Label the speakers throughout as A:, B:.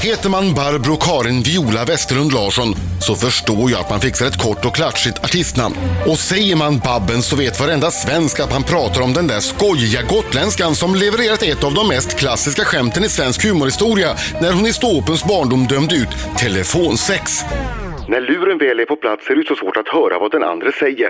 A: Heter man Barbro Karin Viola Westerlund Larsson så förstår jag att man fixar ett kort och klatschigt artistnamn. Och säger man Babben så vet varenda svensk att man pratar om den där skojiga gotländskan som levererat ett av de mest klassiska skämten i svensk humorhistoria när hon i ståuppens barndom dömde ut telefonsex. När luren väl är på plats är det så svårt att höra vad den andra säger.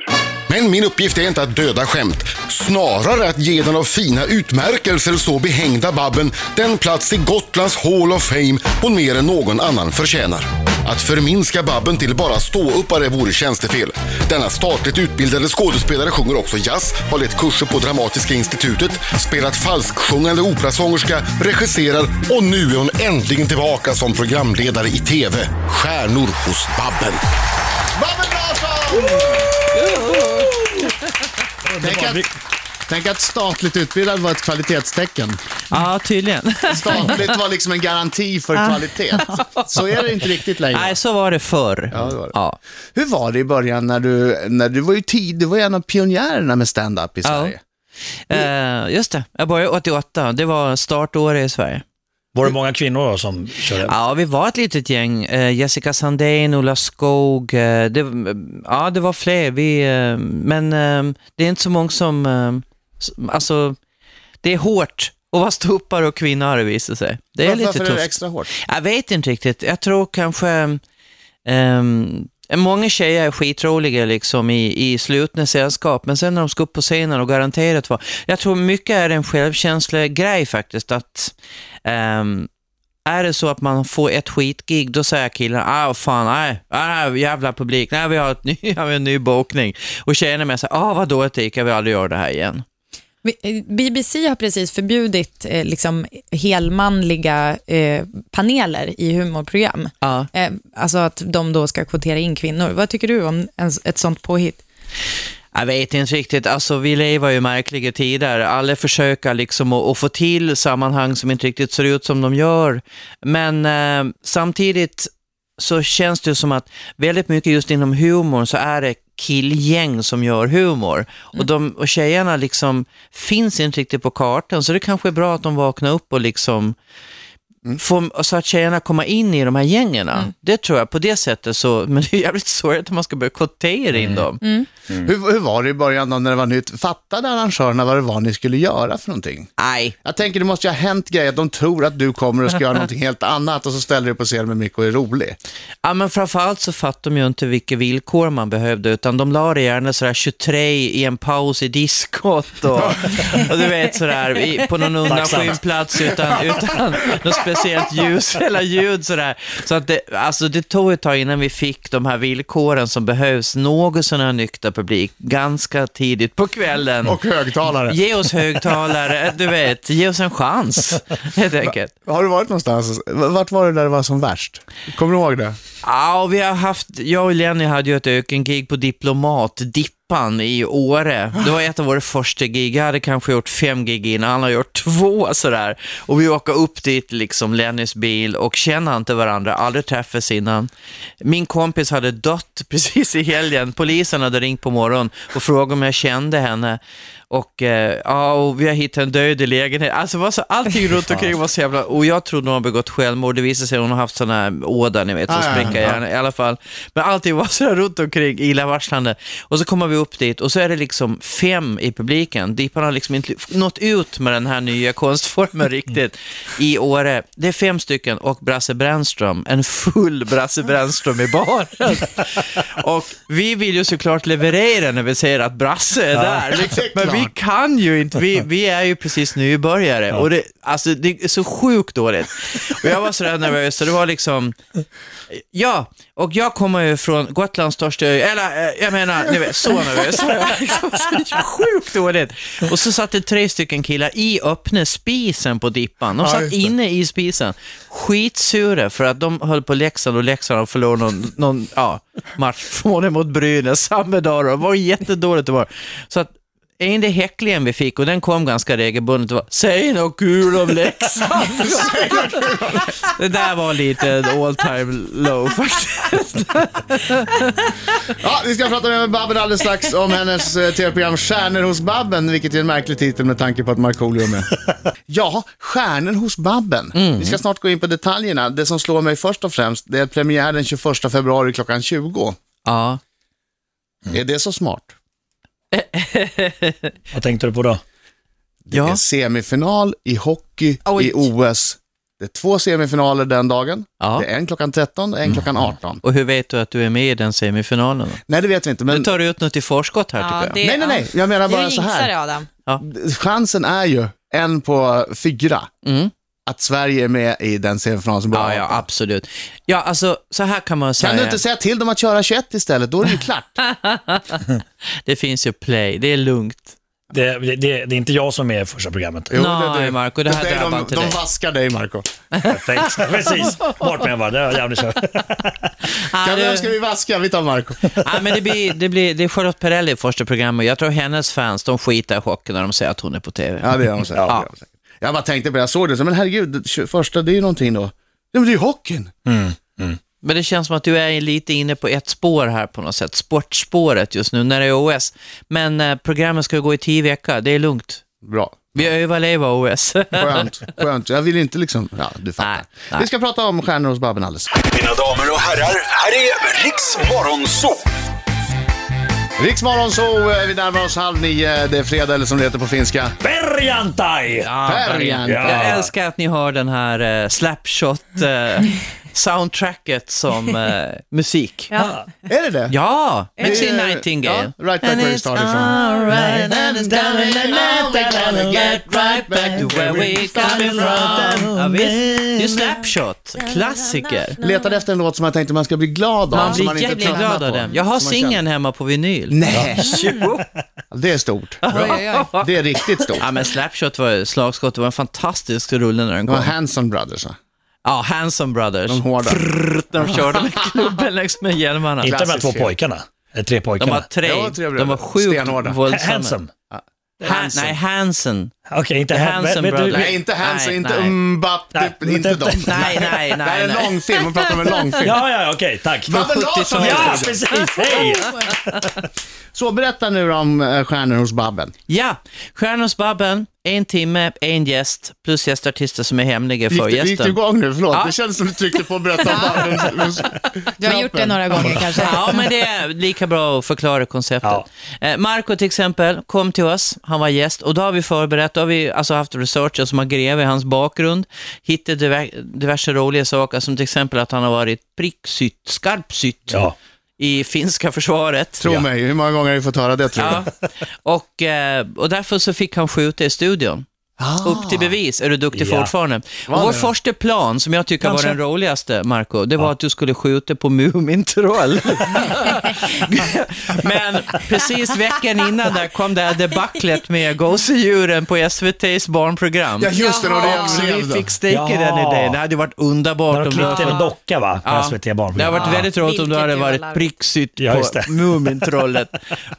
A: Men min uppgift är inte att döda skämt. Snarare att ge den av fina utmärkelser så behängda Babben den plats i Gotlands Hall of Fame hon mer än någon annan förtjänar. Att förminska Babben till bara ståuppare vore tjänstefel. Denna statligt utbildade skådespelare sjunger också jazz, har lett kurser på Dramatiska institutet, spelat falsksjungande operasångerska, regisserar och nu är hon äntligen tillbaka som programledare i TV. Stjärnor hos Babben.
B: Babben Larsson! Tänk att, tänk att statligt utbildad var ett kvalitetstecken.
C: Ja, tydligen.
B: Statligt var liksom en garanti för kvalitet. Så är det inte riktigt längre.
C: Nej, så var det förr.
B: Ja, det var det.
C: Ja.
B: Hur var det i början när du, när du var ju tid, du var ju en av pionjärerna med stand-up i Sverige.
C: Eh, just det, jag började 88. Det var startåret i Sverige.
D: Var det många kvinnor då som körde?
C: Ja, vi var ett litet gäng. Eh, Jessica Sandén, Ola Skog. eh, Det, ja, det var fler. Vi, eh, men eh, det är inte så många som... eh, som- Alltså, det är hårt att vara ståuppare och kvinna har det visat sig. Det är
B: Varför,
C: lite
B: varför
C: tufft.
B: är det extra hårt?
C: Jag vet inte riktigt. Jag tror kanske... ehm, många tjejer är skitroliga liksom i, i slutna sällskap, men sen när de ska upp på scenen och garanterat vara... Jag tror mycket är en självkänslegrej faktiskt. att ehm, Är det så att man får ett skitgig, då säger killarna ah, fan, nej, ah, jävla publik, nej, vi har, ett ny, vi har en ny bokning. Och tjejerna med sig, ah, vad dåligt det gick, jag vill aldrig göra det här igen.
E: Vi- eh, BBC har precis förbjudit eh, liksom, helmanliga eh, paneler i humorprogram.
C: Ja.
E: Eh, alltså att de då ska kvotera in kvinnor. Vad tycker du om en, ett sånt påhitt?
C: Jag vet inte riktigt. Alltså, vi lever ju i märkliga tider. Alla försöker liksom att, att få till sammanhang som inte riktigt ser ut som de gör. Men eh, samtidigt så känns det ju som att väldigt mycket just inom humorn så är det killgäng som gör humor. Och, de, och tjejerna liksom finns inte riktigt på kartan, så det kanske är bra att de vaknar upp och liksom får, så att tjejerna kommer in i de här gängen. Det tror jag, på det sättet så, men det är jävligt sorgligt att man ska börja kvotera in dem. Mm.
B: Hur, hur var det i början då när det var nytt? Fattade arrangörerna vad det var ni skulle göra för någonting?
C: Nej,
B: Jag tänker det måste ju ha hänt grejer, att de tror att du kommer och ska göra någonting helt annat och så ställer du dig på scen med mycket och är rolig.
C: Ja, men framförallt så fattade de ju inte vilka villkor man behövde, utan de la det gärna sådär 23 i en paus i diskot och, och du vet sådär i, på någon undanskymd plats utan, utan något speciellt ljus eller ljud sådär. Så att det, alltså det tog ett tag innan vi fick de här villkoren som behövs, något sån här nykter publik, ganska tidigt på kvällen.
B: Och högtalare.
C: Ge oss högtalare, du vet, ge oss en chans helt enkelt.
B: Har du varit någonstans? Vart var det där det var som värst? Kommer du ihåg det?
C: Ja, och vi har haft, jag och Lenny hade ju ett ökengig på Diplomat, Dippan i Åre. Det var ett av våra första gig. Jag hade kanske gjort fem gig innan, han har gjort två sådär. Och vi åker upp dit, liksom Lennys bil och känner inte varandra, aldrig träffats innan. Min kompis hade dött precis i helgen. Polisen hade ringt på morgonen och frågat om jag kände henne. Och, eh, ja, och vi har hittat en död i lägenheten. Alltså var så, allting runt omkring var så jävla... Och jag trodde hon hade begått självmord. Det visade sig att hon har haft sådana här ådar, ni vet, som
B: Ah, ja,
C: spricker i
B: ja.
C: hjärnan. I alla fall. Men allting var så här runt omkring, illavarslande. Och så kommer vi upp dit och så är det liksom fem i publiken. Dipan har liksom inte nått ut med den här nya konstformen riktigt i Åre. Det är fem stycken och Brasse Brännström, en full Brasse Brännström i baren. Och vi vill ju såklart leverera när vi säger att Brasse är där. Liksom.
B: det är
C: Men vi
B: klart.
C: kan ju inte, vi, vi är ju precis nybörjare. Och det, alltså, det är så sjukt dåligt. Och jag var så där nervös så det var liksom, ja, och jag kommer ju från Gotlands största ö, eller eh, jag menar, ni vet, så nervös. var jag. Liksom, så Sjukt dåligt. Och så satt det tre stycken killar i öppna spisen på Dippan. De
B: Ja,
C: satt
B: just det.
C: inne i spisen, skitsura för att de höll på Leksand och Leksand förlorade någon, någon ja, match förmodligen mot Brynäs samma dag. då. Det var jättedåligt det var. Så att är inte häcklingen vi fick och den kom ganska regelbundet och var “Säg något kul om Leksand!” Det där var lite en all time low faktiskt.
B: Ja, vi ska prata med Babben alldeles strax om hennes eh, tv-program Stjärnor hos Babben, vilket är en märklig titel med tanke på att Markoolio är med. Mm. Ja, Stjärnor hos Babben. Vi ska snart gå in på detaljerna. Det som slår mig först och främst, det är premiär den 21 februari klockan 20.
C: Ja.
B: Är det så smart?
D: Vad tänkte du på då?
B: Det
C: Ja.
B: är semifinal i hockey
C: Oj.
B: i OS. Det är två semifinaler den dagen.
C: Ja.
B: Det är en klockan 13 och en klockan 18.
C: Och hur vet du att du är med i den semifinalen? då?
B: Nej, det vet vi inte, men...
C: Nu tar du ut något i förskott här tycker
E: Ja,
C: jag.
E: det-
B: Nej, nej, nej. Jag menar
E: Du
B: bara så
E: jinxar
B: här.
E: det, Adam.
B: chansen är ju en på fyra
C: Mm.
B: att Sverige är med i den semifinalen som
C: Ja,
B: börjar.
C: ja, absolut. Ja, alltså så här kan man säga.
B: kan du inte säga till dem att köra 21 istället? Då är det ju klart.
C: Det finns ju play, det är lugnt.
D: Det, det, det är inte jag som är i första programmet.
B: Jo,
C: Nej, Marco, det här
B: är
C: drabbar
B: de,
C: inte
B: de
C: dig.
B: vaskar dig, Marco.
D: Perfekt. Precis. Bort med var. Det var jävligt kört.
B: Kan,
C: Ja,
B: vem
C: det-
B: ska vi vaska? Vi tar Marco.
C: Ja, men det, blir, det, blir, det är Charlotte Perrelli i första programmet. Jag tror hennes fans, de skiter i chocken när de ser att hon är på TV.
B: Ja, det gör de säkert.
C: Ja.
B: Det gör de säkert. Jag bara tänkte på det, jag såg det, så, men herregud, tj- första, det är ju någonting då. Ja, men det är ju hockeyn.
C: Mm. Men det känns som att du är lite inne på ett spår här på något sätt. Sportspåret just nu när det är OS. Men eh, programmen ska gå i tio veckor, det är lugnt.
B: Bra.
C: Vi överlever OS.
B: Skönt, skönt. Jag vill inte liksom, ja, du fattar.
C: Nej, nej.
B: Vi ska prata om Stjärnor hos Babben alldeles
F: Mina damer och herrar, här är Riks Morgonzoo!
B: Riksmorgon så, eh, vi närmar oss halv nio, det är fredag eller som det heter på finska.
D: Berjantaj!
B: Färjan.
D: Ja.
C: Jag älskar att ni har den här eh, slapshot-soundtracket som eh, musik. Ja,
B: Är det det?
C: Maxine
B: Det är-
C: Nightingale.
B: ja, Right Back Where You Started From.
C: alright and it's down in Atlanta, gonna get right back to where we coming from. Ja, visst. Det är Slapshot, klassiker.
B: Letade efter en låt som jag tänkte man ska bli glad av.
C: Man
B: som man
C: blir
B: inte tröttnar
C: jätteglad av
B: på,
C: den. Jag har
B: som man känner.
C: singeln hemma på vinyl.
B: Nej,
C: Jo.
B: det är stort. Det är riktigt stort.
C: Ja men Slapshot var slagskott, det var en fantastisk rulle när den
B: Det var
C: kom.
B: Hanson Brothers, va?
C: Ja, Hanson Brothers.
B: de hårda.
C: De körde med klubben längs med hjälmarna.
D: Inte de här två
B: Klassisk.
D: pojkarna. Eller tre
C: De var
D: pojkarna.
C: tre,
B: Ja, tre bröder.
C: de var sjukt
B: Stenhårda.
D: Ha-
C: våldsamma.
D: Handsome.
C: Ha- nej, Hansen.
D: Okej, inte
C: The
D: han-
C: Handsome
D: vet- vet du-
C: Brothers.
B: Nej, inte Hanson,
C: Nej,
B: inte
C: nej.
B: Mbapp,
D: Nej,
B: typ, inte
D: inte-
B: dem.
C: Nej, nej, nej.
B: Det här är en
C: nej.
B: lång film, man pratar om en lång film.
D: Ja, ja, okej, tack.
B: Vad- Babben Larsson,
C: 70-talet.
D: Ja, precis. Hej!
B: Så berätta nu om eh, Stjärnor hos Babben.
C: Ja, Stjärnors Babben, en timme, en gäst, plus gästartister som är hemliga
B: Gick,
C: för
B: du- gick du
C: gästen.
B: igång nu? Förlåt,
C: Ja.
B: det kändes som du tryckte på att berätta om Babben. hos-
E: Du har gjort det
B: Knappen.
E: några gånger kanske.
C: Ja, men det är lika bra att förklara konceptet.
D: Ja.
C: Eh, Marco till exempel kom till oss, han var gäst och då har vi förberett, då har vi alltså haft researcher som har grävt i hans bakgrund, hittat diver- diverse roliga saker som till exempel att han har varit pricksytt, skarpsytt
D: Ja.
C: i finska försvaret.
B: Tro mig, hur många gånger har vi fått höra det tror
C: Ja.
B: jag?
C: Och, eh, och därför så fick han skjuta i studion. Upp till bevis, är du duktig
D: Ah. Ja.
C: fortfarande? Och vår första plan, som jag tycker
D: Kanske.
C: var den roligaste, Marco, det var att du skulle skjuta på Mumintroll. Men precis veckan innan där kom det här debaclet med gosedjuren på SVT:s barnprogram.
B: Ja, just det, när det
C: Så
B: gäller
C: vi
B: Zev då.
C: fick steka
D: Ja.
C: den idén. Det hade ju varit
D: När
C: underbart
D: de
C: om du hade
D: klippte en
C: fått
D: docka, va? På
C: Ja.
D: SVT
C: Det har
D: Barnprogram.
C: varit väldigt roligt om du
E: Vilket
C: hade
E: jävla
C: varit
E: larv.
C: pricksytt
D: Ja, just
C: på
D: det.
C: Mumintrollet.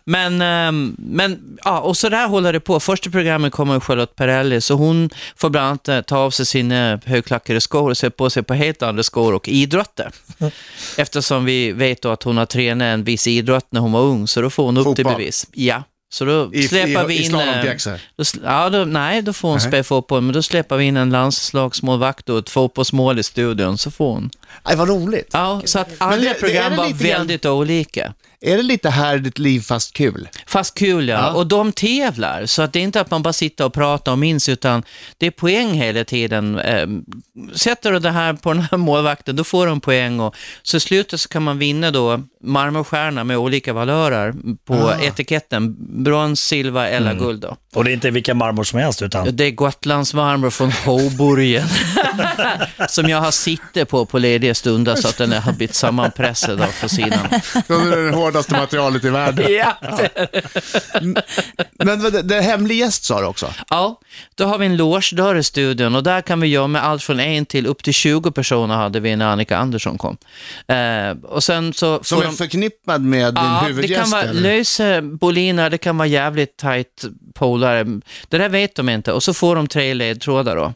C: Men, ehm, men ja, och så där håller det på. Första programmet kommer ju Charlotte Perrelli, så hon får bland annat eh, ta av sig sina högklackade skor och sätta på sig på helt andra skor och idrotta.
D: Mm.
C: Eftersom vi vet då att hon har tränat en viss idrott när hon var ung, så då får hon upp till
B: Fotboll.
C: bevis. Ja. Så då
B: I- i-
C: släpar vi
B: i
C: in... eh,
B: slalompjäxor?
C: då, sl- ja, då, nej, då får hon spela fotboll, men då släpar vi in en landslagsmålvakt och ett fotbollsmål i studion, så får hon.
B: Aj, vad roligt.
C: Ja, så att
B: Men det-
C: alla
B: det är det
C: program var
B: lite grann-
C: väldigt olika.
B: Är det lite här ditt liv fast kul?
C: Fast kul ja. och de tävlar. Så att det är inte att man bara sitter och pratar och minns, utan det är poäng hela tiden. Eh, Sätter du det här på den här målvakten, då får de poäng. Och, så i slutet så kan man vinna då
B: Ah. Mm.
C: marmorstjärna med olika valörer på etiketten. Brons, silver eller guld då.
D: Och det är inte vilken marmor som helst
C: Ja,
D: utan...
C: Det är Gotlandsmarmor från Hoburgen som jag har sitte på på lediga stunder så att den har blivit sammanpressad av fossilen.
B: Det är det hårdaste materialet i världen.
C: Ja.
B: Men det, det är hemlig gäst sa du också.
C: ja, då har vi en logedörr i studion och där kan vi göra med allt från en till upp till 20 personer hade vi när Annika Andersson kom. Eh, och sen så
B: Som
C: får
B: är förknippad med din
C: Ja, det
B: huvudgäst.
C: kan vara
B: eller?
C: Löse Bolina, det kan vara jävligt tajt polare. Det där vet de inte. Och så får de tre ledtrådar då.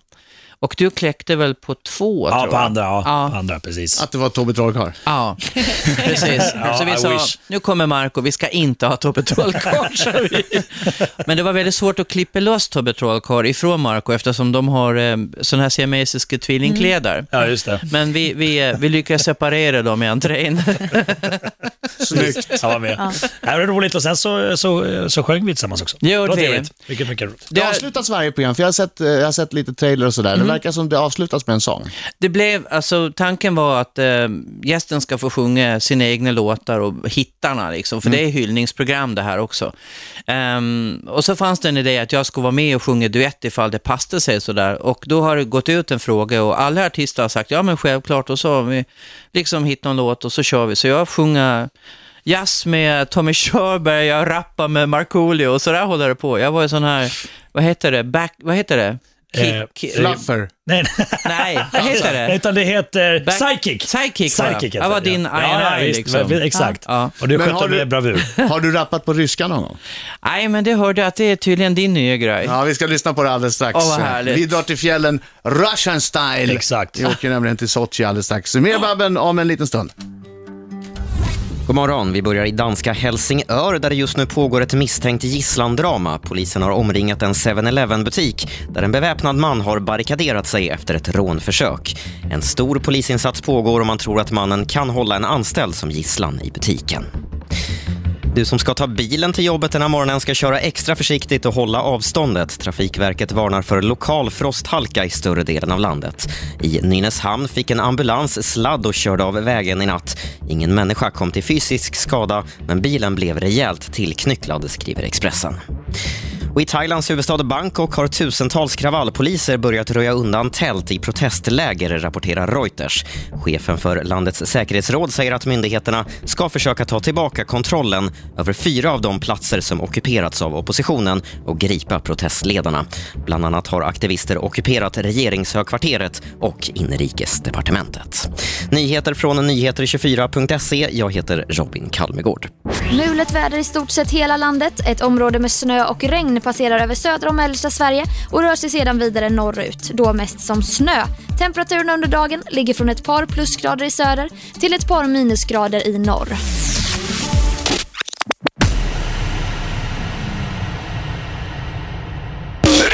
C: Och du kläckte väl på två,
D: Ja,
C: tror
D: på
C: jag?
D: andra. Ja,
C: Ja.
D: På andra precis.
B: Att det var Tobbe Trollkarl.
C: Ja, precis.
D: Ja,
C: så vi
D: I
C: sa,
D: wish.
C: nu kommer Marco, vi ska inte ha Tobbe Trollkarl. sa vi. Men det var väldigt svårt att klippa loss Tobbe Trollkarl ifrån Marco eftersom de har eh, sådana här siamesiska tvillingkläder.
D: Ja, just det.
C: Men vi, vi, eh, vi lyckades separera dem i entrén.
B: Snyggt.
D: Jag var med. Det här var roligt och sen så, så, så sjöng vi tillsammans också.
C: Det
D: det
C: gjorde
D: var
C: vi.
D: trevligt. Mycket, mycket roligt.
B: Det avslutas varje program, för jag har sett, eh, jag har sett lite trailer och sådär. Det verkar som det avslutas med en sång.
C: Det blev, alltså tanken var att eh, gästen ska få sjunga sina egna låtar och hittarna liksom, för
D: Mm.
C: det är hyllningsprogram det här också. Ehm, och så fanns det en idé att jag skulle vara med och sjunga duett ifall det passade sig sådär. Och då har det gått ut en fråga och alla artister har sagt ja men självklart och så har vi liksom hittat någon låt och så kör vi. Så jag sjunger jazz med Tommy Körberg, jag rappar med Markoolio och sådär håller det på. Jag var ju sån här, vad heter det, back, vad heter det?
D: Eh,
C: Kick,
B: Fluffer.
D: Nej, nej.
C: nej, vad heter det?
D: Nej, Utan det heter
C: Back-
D: Psychic.
C: Psychic, va?
D: heter
C: Ja, var
D: det,
C: din
D: ja,
C: IRI,
D: visst,
C: liksom.
D: men- Exakt.
C: Ja.
D: Och du
B: Men
D: skötte
B: har
D: med
B: du-
D: bravur.
B: Har du rappat på ryska någon gång?
C: Nej, men det hörde jag att det är tydligen din nya grej.
B: Ja, vi ska lyssna på det alldeles strax.
C: Åh, vad härligt.
B: vi drar till fjällen Russian style.
D: Exakt.
B: Vi åker nämligen till Sochi alldeles strax. Mer Babben om en liten stund.
G: God morgon. Vi börjar i danska Helsingör där det just nu pågår ett misstänkt gisslandrama. Polisen har omringat en 7-Eleven-butik där en beväpnad man har barrikaderat sig efter ett rånförsök. En stor polisinsats pågår och man tror att mannen kan hålla en anställd som gisslan i butiken. Du som ska ta bilen till jobbet den här morgonen ska köra extra försiktigt och hålla avståndet. Trafikverket varnar för lokal frosthalka i större delen av landet. I Nynäshamn fick en ambulans sladd och körde av vägen i natt. Ingen människa kom till fysisk skada, men bilen blev rejält tillknycklad, skriver Expressen. Och I Thailands huvudstad Bangkok har tusentals kravallpoliser börjat röja undan tält i protestläger, rapporterar Reuters. Chefen för landets säkerhetsråd säger att myndigheterna ska försöka ta tillbaka kontrollen över fyra av de platser som ockuperats av oppositionen och gripa protestledarna. Bland annat har aktivister ockuperat regeringshögkvarteret och inrikesdepartementet. Nyheter från nyheter24.se. Jag heter Robin Kalmegård.
H: Mulet väder i stort sett hela landet. Ett område med snö och regn passerar över södra och mellersta Sverige och rör sig sedan vidare norrut, då mest som snö. Temperaturen under dagen ligger från ett par plusgrader i söder till ett par minusgrader i norr.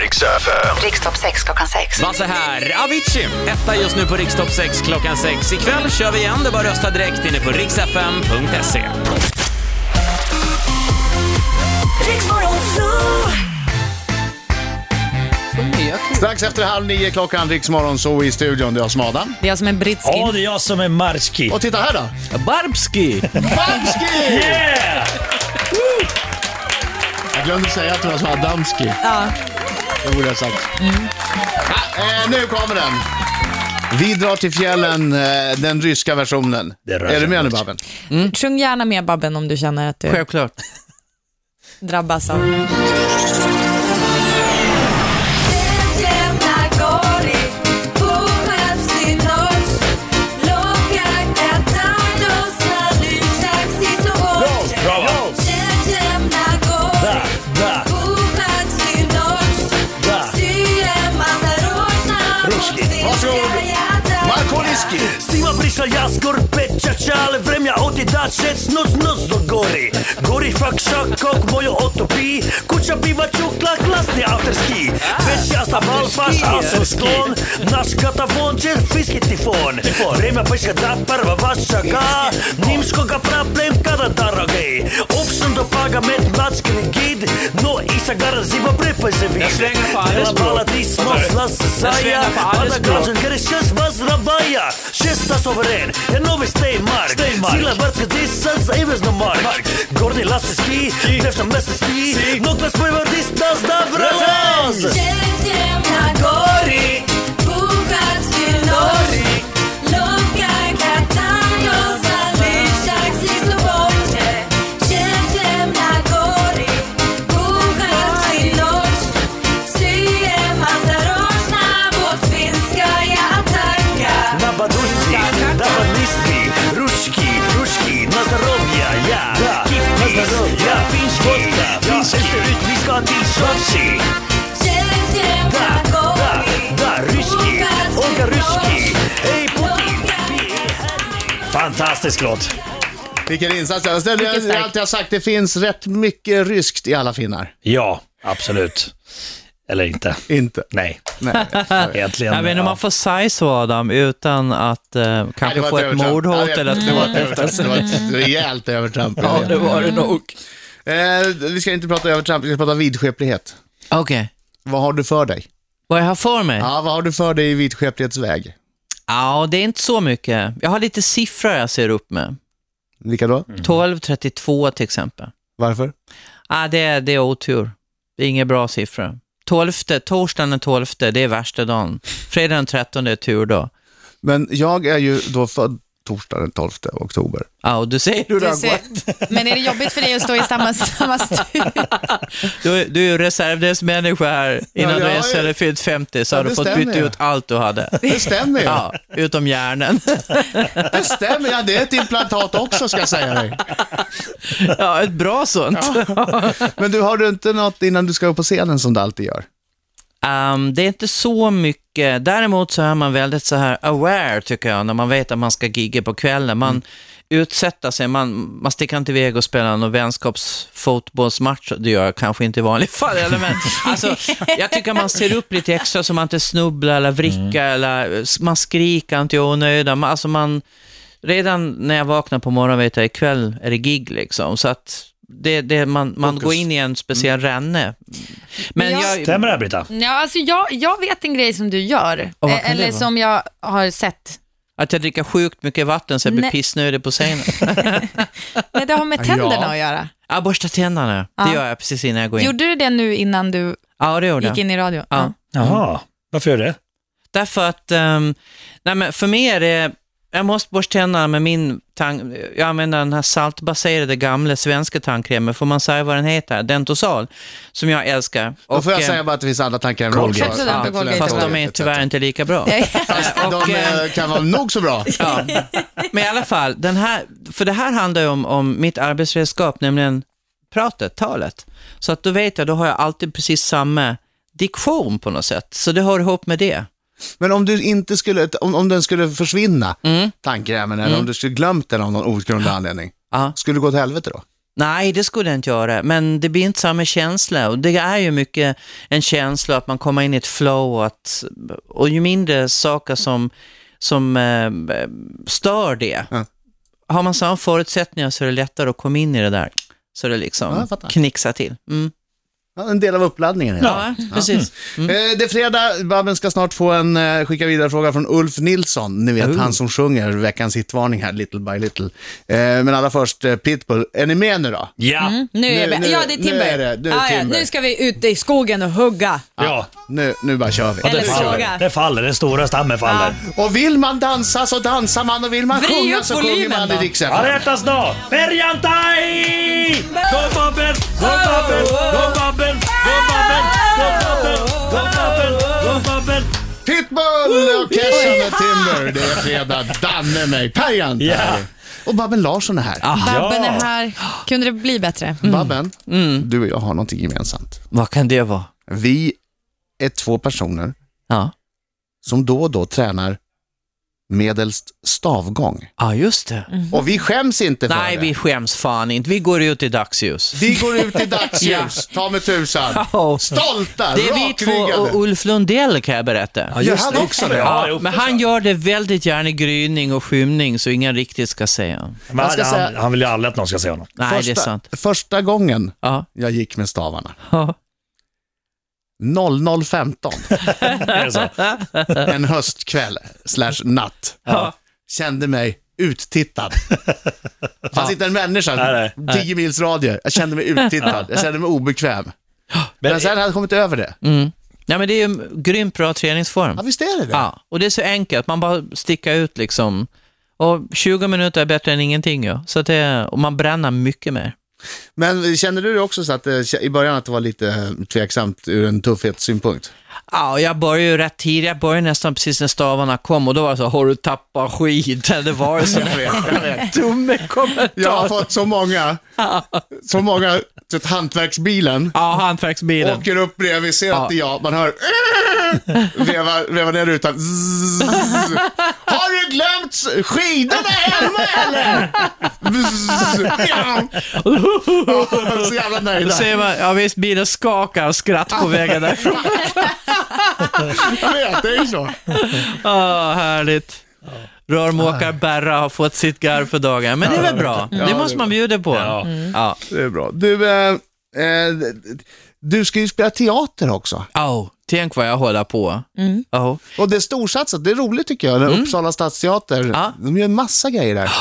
F: Riks FM.
I: Rikstopp 6 klockan 6.
J: Var så här, Avicii, etta just nu på Rikstopp 6 klockan 6. Ikväll kör vi igen, det är bara att rösta direkt inne på riksfm.se.
B: Strax efter halv nio klockan, Riksmorgon, så i studion. Det är jag som är Adam.
E: Det är jag som är brittskin.
D: Ja, det är jag som är Marski.
B: Och titta här då!
C: Barbski!
B: Damski!
D: Yeah!
B: Jag glömde säga att det var så här Damski.
E: Ja.
B: Det borde jag ha sagt. Ah, eh, nu kommer den. Vi drar till fjällen, eh, den ryska versionen.
D: Det rör
B: är du
D: sig
B: med nu
D: om-
B: Babben?
E: Sjung gärna med Babben om du känner att du
C: Självklart.
E: drabbas av...
D: Bravo! Da, da, da.
B: Markoliski!
K: Zima prišla ja skor pečača, ali vremja oti da šec noc noc do gori. Gori fak šak kok mojo otopi, kuća biva čukla klasni afterski. Već ja sta bal paš, a su sklon, naš katavon će fiski tifon. Vremja peška da prva vas čaka, nimškoga problem kada daragej. Opšen do paga med mlačkini gid, no iša gara zima prepaj se vid.
J: Jag svänger på Alice,
K: Hela
J: bro.
K: baladi smås
J: svänger
K: lasaja,
J: på Alice,
K: alla
J: bro.
K: grazen Grishas Vazrabaja Kista soveren, en novi Steinmark Sila vrt gdje sa zavezno mark Gornji lastiski, devšta mesesti Nokta spojva dista zda vrelaz
I: Jedziemy na góry, puchać wielory. Lubka gadają, zależak ze złocie. Jedziemy na góry, puchać wielory. Syjema zarożna, łotwińska jatanka.
K: Na baduszki, na badniski Ruczki, ruczki, na zdrowia ja Kipis, ja fiński Ja jestem rytmisko, ty szorsi
I: Jedziemy na
K: Da,
I: góry,
K: da, ryski, Olga ryski Hej Putin,
D: Fantastisk låt.
B: Vilken insats. Jag ställer-
D: Mycket
B: jag har
D: starkt.
B: alltid sagt, det finns rätt mycket ryskt i alla finnar.
D: Ja, absolut. Eller inte.
B: Inte.
D: Nej. Egentligen.
C: Jag vet inte om man får säga så Adam, utan att eh, kanske få ett mordhot eller
B: ett
C: att
B: Det var ett övertramp.
C: efterse.
B: Det var ett rejält övertramp.
C: Ja, det var det nog.
B: Eh, vi ska inte prata övertramp, vi ska prata vidskeplighet.
C: Okej.
B: Vad har du för dig?
C: Vad jag har för mig?
B: Ja, vad har du för dig i vidskeplighetsväg?
C: Ja, det är inte så mycket. Jag har lite siffror jag ser upp med.
B: Mm. Vilka då?
C: Mm. 1232 till exempel.
B: Varför?
C: Ah, det, är, det är otur. Det är inga bra siffror. 12, torsdagen den 12, det är värsta dagen. Fredagen den 13 är turdag.
B: Men jag är ju då född torsdag den 12 oktober.
C: Ja, och du säger hur det
E: Du
C: har
E: ser,
C: gått.
E: men är det jobbigt för dig att stå i samma, samma stu?
C: Du, du är ju reservdelsmänniska här. Innan
B: Ja,
C: du
B: jag
C: ens
B: är-
C: hade fyllt 50 så
B: Ja,
C: har du
B: det
C: fått
B: stämmer
C: byta
B: ju.
C: ut allt du hade.
B: Det stämmer ju.
C: Ja, utom hjärnan.
B: Det stämmer, ja, det är ett implantat också ska jag säga dig.
C: Ja, ett bra sånt.
B: Men du, har du inte något innan du ska upp på scenen som du alltid gör?
C: Ehm, det är inte så mycket. Däremot så är man väldigt så här aware, tycker jag, när man vet att man ska gigga på kvällen. Man utsätter sig, man, man sticker inte iväg och spelar någon vänskapsfotbollsmatch. Det gör jag kanske inte i vanliga fall, eller, men alltså, jag tycker man ser upp lite extra så man inte snubblar eller vrickar, eller s- man skriker inte i onödan. Man- Alltså man, redan när jag vaknar på morgonen vet jag ikväll är det gig, liksom. Så att det, det, man, man går in i en speciell ränne. Men
E: Men jag-
C: jag,
D: Stämmer det här Britta?
E: Ja, alltså jag, jag vet en grej som du gör,
C: Och vad
E: eh,
C: kan det
E: eller
C: vara?
E: som jag har sett.
C: Att jag dricker sjukt mycket vatten så jag blir
E: Nej.
C: pissnödig på scenen.
E: Nej, det har med tänderna att göra.
C: Jag borstar tänderna.
E: Ja.
C: Det gör jag precis innan jag går in.
E: Gjorde du det nu innan du
C: Ja, det gjorde
E: gick
C: jag.
E: in i radio?
C: Ja.
D: Jaha, varför gör du det?
C: Därför att, ehm, nej men för mig är det, jag måste borsta tänderna med min tand, jag använder den här saltbaserade gamla svenska tandkrämen, får man säga vad den heter? Dentosal, som jag älskar.
B: Då får jag
C: eh,
B: säga bara att det finns andra tankar än
D: Colgate.
B: Rolls-Royce.
E: Absolut, och Colgate.
C: fast de är
B: Absolut.
C: tyvärr inte lika bra. Eh, och,
B: De
C: ehm,
B: eh, kan vara nog så bra.
C: Ja. Men i alla fall, den här, för det här handlar ju om, om mitt arbetsredskap, nämligen pratet, talet. Så att då vet jag, då har jag alltid precis samma diktion på något sätt. Så det hör ihop med det.
B: Men om du inte skulle, om, om den skulle försvinna, tandkrämen, eller om du skulle glömt den av någon outgrundlig anledning,
C: Mm. Ja.
B: skulle det gå till helvete då?
C: Nej, det skulle jag inte göra, men det blir inte samma känsla. Och det är ju mycket en känsla att man kommer in i ett flow och, att, och ju mindre saker som, som eh, stör det,
B: Ja.
C: har man samma förutsättningar så är det lättare att komma in i det där. Så det
B: Ja,
C: liksom
B: jag fattar.
C: knixar till. Mm.
B: Ja, en del av uppladdningen. Ja.
C: Ja, precis.
B: Eh, Det är fredag, Babben ska snart få en eh, skicka vidare fråga från Ulf Nilsson. Ni vet, han som sjunger veckans hitvarning här, Little by Little. Eh, Men allra först, eh, Pitbull, är ni med nu då?
D: Ja.
E: Nu är
B: Nu-
E: det
B: nu-
E: med. Ja, det är
B: nu
E: Timber.
B: är det- nu är
E: Ja, ja,
B: Timber.
E: nu ska vi ut i skogen och hugga.
D: Ja.
B: Nu, nu bara kör vi.
D: Och det,
E: Eller
D: faller.
E: sågar.
D: det faller, den stora stammen faller.
B: Och vill man dansa så dansar man och vill man
E: Vrid
B: sjunga
E: upp
B: så sjunger
E: volymen
B: man
E: då.
B: i Rix FM.
D: Alertas dag! Perjantai! Gå Babben! Gå Babben! Gå Babben! Gå Babben! Gå Babben! Gå Babben! Gå Babben!
B: Pitbull och Kesha med Timber. Det är fredag, danne mig, Perjan.
D: Ja.
B: Och Babben Larsson är här.
E: Babben är här. Kunde det bli bättre?
D: Mm.
B: Babben, du och jag har någonting gemensamt.
C: Vad kan det vara?
B: Vi är två personer
C: Ja,
B: som då och då tränar medelst stavgång.
C: ja just det.
B: Och vi skäms inte för
C: Nej,
B: det.
C: vi skäms fan inte. Vi går ut i dagsljus.
B: Vi går ut i dagsljus, ta med tusan.
C: Ja.
B: Stolta,
C: Det är vi två
B: rakryggade.
C: och Ulf Lundell kan jag berätta.
B: Gör han också det?
D: Ja,
C: men han gör det väldigt gärna i gryning och skymning så ingen riktigt ska säga.
D: Men
B: Jag ska
D: han, han,
B: säga-
D: han vill ju aldrig att någon ska se honom.
C: Nej, det är
B: Första-
C: sant.
B: Första gången
C: Ja.
B: jag gick med stavarna,
C: Ja.
B: 00.15,
D: Är det så?
B: en höstkväll slash natt, kände mig uttittad. Det fanns inte en människa.
D: Nej, nej.
B: 10 mils radie. Jag kände mig uttittad. Jag kände mig obekväm. Men, sen hade jag kommit över det.
C: Mm. Ja, men det är ju en grymt bra träningsform.
B: Ja, visst är det det.
C: Ja, och det är så enkelt. Man bara sticker ut liksom. Och 20 minuter är bättre än ingenting ju. Så att det, och man bränner mycket mer.
B: Men kände du det också så att eh, i början att det var lite eh, tveksamt ur en tuffhetssynpunkt?
C: Ja, och jag började ju rätt tidigt. Jag började nästan precis när stavarna kom och då var det så, har du tappat skiten? Det var ju så. Dumme kommentar.
B: Jag har fått så många, så många, så att hantverksbilen.
C: Ja, hantverksbilen.
B: Åker upp bredvid, ser att det är jag, man hör veva, veva ner rutan. Zzz. Har du glömt skidorna hemma eller? Zzz. Ja. Ja, så jävla
C: Då
B: nöjda.
C: säger man, ja visst, bilen skakar av skratt på vägen därifrån.
B: Jag vet, det är ju så.
C: Åh, härligt. Rörmokar Berra har fått sitt garv för dagen, men det är väl bra?
B: Ja, det
C: Det
B: är
C: måste man bjuda på. Ja.
B: Det är bra. Du, eh, eh, du ska ju spela teater också.
C: Oh, tänk vad jag håller på.
E: Mm.
C: Oh.
B: Och det är storsatsat, det är roligt tycker jag. Mm. Uppsala stadsteater,
C: Ja.
B: de gör en massa grejer där.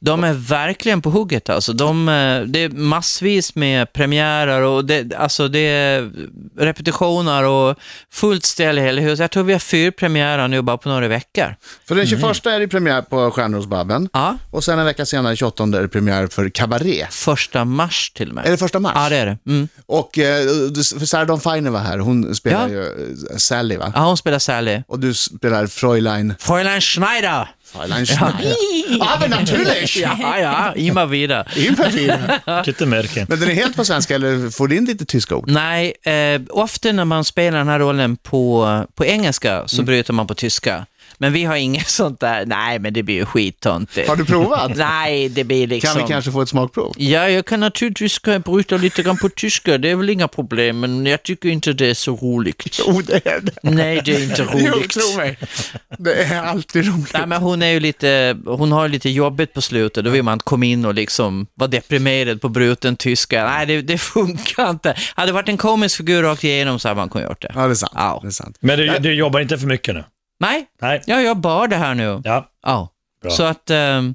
C: De är verkligen på hugget alltså. De, eh, det är massvis med premiärer och det, alltså det är repetitioner och fullt ställ i hela huset. Jag tror vi har fyra premiärer nu bara på några veckor.
B: För den 21 är det premiär på Stjärnor hos Babben.
C: Mm. Ja,
B: Och sen en vecka senare, 28, är det premiär för Cabaret.
C: första mars till och med.
B: Är det första mars?
C: Ja, det är det. Mm.
B: Och eh, för Sarah Dawn Finer var här, hon
C: Ja.
B: spelar ju eh, Sally va?
C: Ja, hon spelar Sally.
B: Och du spelar Fräulein...
C: Fräulein Schneider!
B: Fräulein Schneider. Ja, men naturligt!
C: Ja, ja, immer wieder.
B: Immer wieder.
D: Lite märken.
B: Men den är helt på svenska, eller får du in lite tyska ord?
C: Nej, eh, ofta när man spelar den här rollen på, på engelska
B: Mm.
C: så bryter man på tyska. Men vi har inget sånt där, nej men det blir ju skittöntigt.
B: Har du provat?
C: Nej, det blir liksom...
B: Kan vi kanske få ett smakprov?
C: Ja, jag kan naturligtvis kan jag bryta lite grann på tyska, det är väl inga problem, men jag tycker inte det är så roligt.
B: Jo, det är det.
C: Nej, det är inte
B: Jo,
C: roligt.
B: tro mig. Det är alltid roligt.
C: Nej, men hon är ju lite, hon øh, har ju lite jobbigt på slutet, då vill man inte komma in och liksom vara deprimerad på bruten tyska. Nej, det, det funkar inte. Hade det varit en komisk figur rakt igenom så hade man kunnat gjort det.
B: Ja, det är sant.
C: Ja.
B: Det är sant.
D: Men du, du jobbar inte för mycket nu?
C: Nej,
D: Nej.
C: jag gör bara det här nu.
D: Ja.
C: Ja.
D: Bra.
C: Så att, ehm,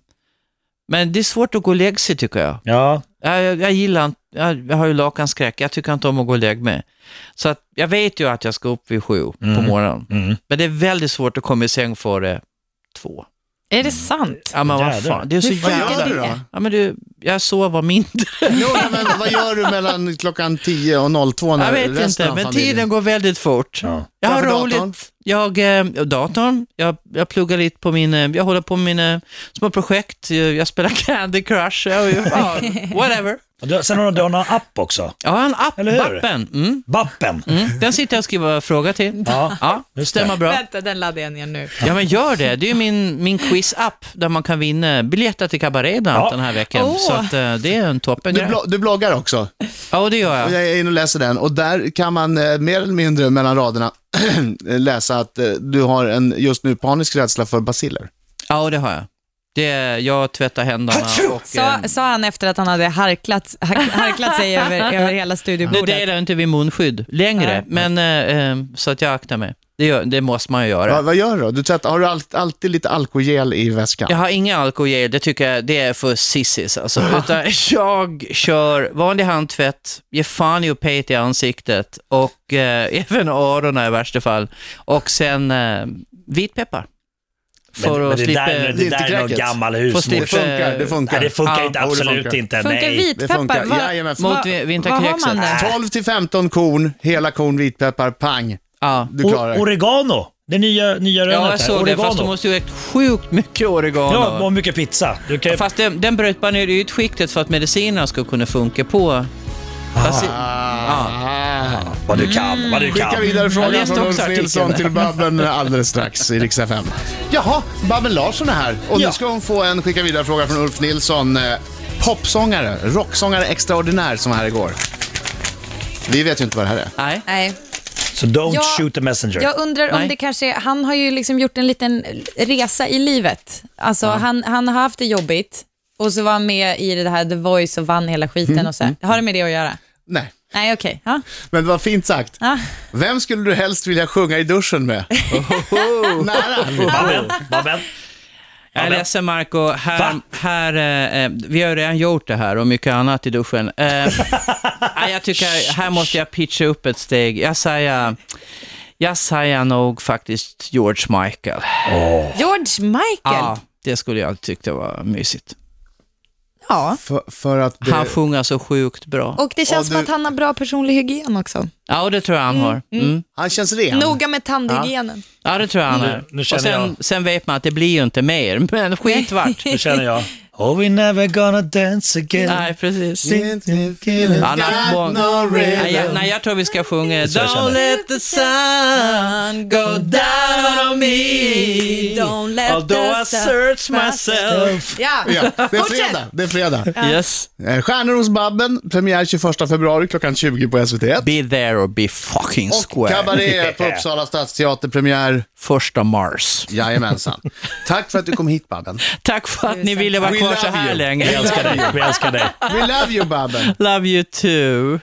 C: men det är svårt att gå och lägga sig tycker jag.
D: Ja.
C: Jag, jag, jag gillar inte, jag, jag har ju lakanskräck, jag tycker inte om att gå och lägga mig. Så att jag vet ju att jag ska upp vid sju på morgonen.
D: Mm.
C: Men det är väldigt svårt att komma i säng före två.
E: Är det sant?
C: Ja men vad
D: Jävlar.
C: fan, det är så
E: Hur funkar
C: jävla...
E: det?
C: Ja men du, jag sover mindre.
B: Jo, nej, men vad gör du mellan klockan 10 och 02 när
C: Jag vet
B: resten
C: inte,
B: av
C: men
B: familjen-
C: tiden går väldigt fort.
D: Ja.
C: Jag har
B: Framför
C: roligt.
B: datorn?
C: Jag, eh, datorn, jag, jag pluggar lite på min, eh, jag håller på med mina små projekt, jag, jag spelar Candy Crush, jag, ja, whatever.
D: Och du- Sen har du en app också.
C: Jag har en app,
D: Eller hur?
C: Bappen. Mm,
D: Bappen.
C: mm. Den sitter jag och skriver fråga till.
D: Ja.
C: Ja,
D: Just
C: stämmer
D: det.
C: bra.
E: Vänta, den laddar jag ner nu.
C: Ja men gör det, det är ju min, min quiz-app där man kan vinna biljetter till Cabaret bland annat
D: Ja.
C: den här veckan.
E: Åh.
C: Så att, eh, det är en toppen
B: Du, blo- du bloggar också?
C: Ja det gör
B: Och
C: jag.
B: jag är inne och läser den och där kan man eh, mer eller mindre mellan raderna läsa att eh, du har en just nu panisk rädsla för basiller.
C: Ja det har jag. Det är, jag tvättar händerna och... eh,
E: Sa, sa han efter att han hade harklat, hark- harklat sig över, över hela
C: Nu
E: studiobordet.
C: delar jag inte vid munskydd längre, men eh, eh, så att jag aktar mig. Det, gör, det måste man ju göra.
B: Va, vad gör du då? Du tvättar, har du allt- alltid lite alkogel i väskan?
C: Jag har inga alkohol, det tycker jag det är för sissis alltså. Utan jag kör vanlig handtvätt, ger fan i att peta i ansiktet och eh, även öronen i värsta fall. Och sen eh, vitpeppar. För
D: men, men
C: att
D: det
C: slippa...
D: där, är-
B: Det är
D: det
B: inte
D: där är någon
B: kräket.
D: gammal
C: Får slippa-
B: Det
D: husmorsa.
B: funkar, det funkar.
D: Nej, det funkar
C: Ja,
D: inte,
B: jo, det
D: absolut
B: funkar.
D: inte.
E: Funkar
D: Nej.
B: Det
E: vitpeppar?
B: funkar,
E: Vad-
B: jajamän.
C: Mot vi-
E: vad har
C: vinterkräkset.
E: man där?
B: 12 till 15 korn, hela korn vitpeppar, pang.
C: Ja.
B: Du klarar
D: O-
B: det.
D: oregano, det nya, nya
C: Ja,
D: rönet
C: jag
D: där.
C: såg det,
D: oregano.
C: fast de måste ju ha ätit sjukt mycket oregano.
D: Ja, och mycket pizza. Du kan ju...
C: Fast den, den bröt bara ner ytskiktet för att medicinerna skulle kunna funka på... Fast,
B: Ah.
D: Vad du kan,
C: Mm.
D: vad du
B: Skicka
D: kan.
B: vidare
C: Jag
B: frågan
C: läste
B: från
C: också
B: Ulf
C: artikeln.
B: Nilsson till Babben alldeles strax i Rix FM. Jaha, Babben Larsson är här och nu
D: Ja.
B: ska hon få en skicka vidare fråga från Ulf Nilsson. eh, Popsångare, rocksångare extraordinär som var här igår. Vi vet ju inte vad det här är.
C: nej.
E: Nej.
D: Så don't
E: Jag-
D: shoot the messenger.
E: Jag undrar om
C: Nej.
E: det kanske, han har ju liksom gjort en liten resa i livet. Alltså han, han har haft det jobbigt och så var han med i det här The Voice och vann hela skiten
C: Mm.
E: och så här. Har det med det att göra?
B: Nej,
E: Nej, okej. Ja.
B: men det var fint sagt.
E: Ja.
B: Vem skulle
C: Oh.
B: du helst vilja sjunga i duschen med? Nära.
D: Babben, Babben.
C: Jag är ledsen Marco, här, här, eh, eh, vi har ju redan gjort det här och mycket annat i duschen. Eh, nej, jag tycker, här måste jag pitcha upp ett steg. Jag säger, jag säger nog faktiskt George Michael.
E: George Michael?
C: Ja, det skulle jag tyckte var mysigt.
E: Ja.
B: För, för att det...
C: Han sjunger så sjukt bra.
E: Och det känns som att han har bra personlig hygien också.
C: Ja, det tror jag han har. Mm.
B: Han känns ren.
E: Noga med tandhygienen.
C: Ja, det tror jag han
E: Nu-
C: är.
E: nu
C: och
E: känner
C: sen, sen vet man att det blir ju inte mer, men skit vart.
E: Nu
J: känner jag.
K: Oh we never gonna dance again
C: Nej, precis. Han har haft många- nej, jag, nej, jag tror vi ska sjunga
D: så jag
C: Don't
D: känner.
C: let the sun go down on me
D: Don't let
C: Although
D: the
C: I
D: sun-
C: search myself
E: Ja,
B: Ja, det är
D: Fortsätt.
B: fredag. Det är fredag.
C: Yes.
B: Eh, Stjärnor hos Babben, premiär 21 februari klockan 20 på SVT.
C: Be there or be fucking
B: Och
C: square.
B: Cabaret på Uppsala stadsteater, premiär...
C: Första mars.
B: Jajamensan. Tack för att du kom hit Babben.
C: Tack för att ni ville vara
B: We
C: kvar så
B: love
C: här
B: you.
C: länge.
B: We älskar dig.
K: Vi älskar dig.
B: We love you Babben.
C: Love you too.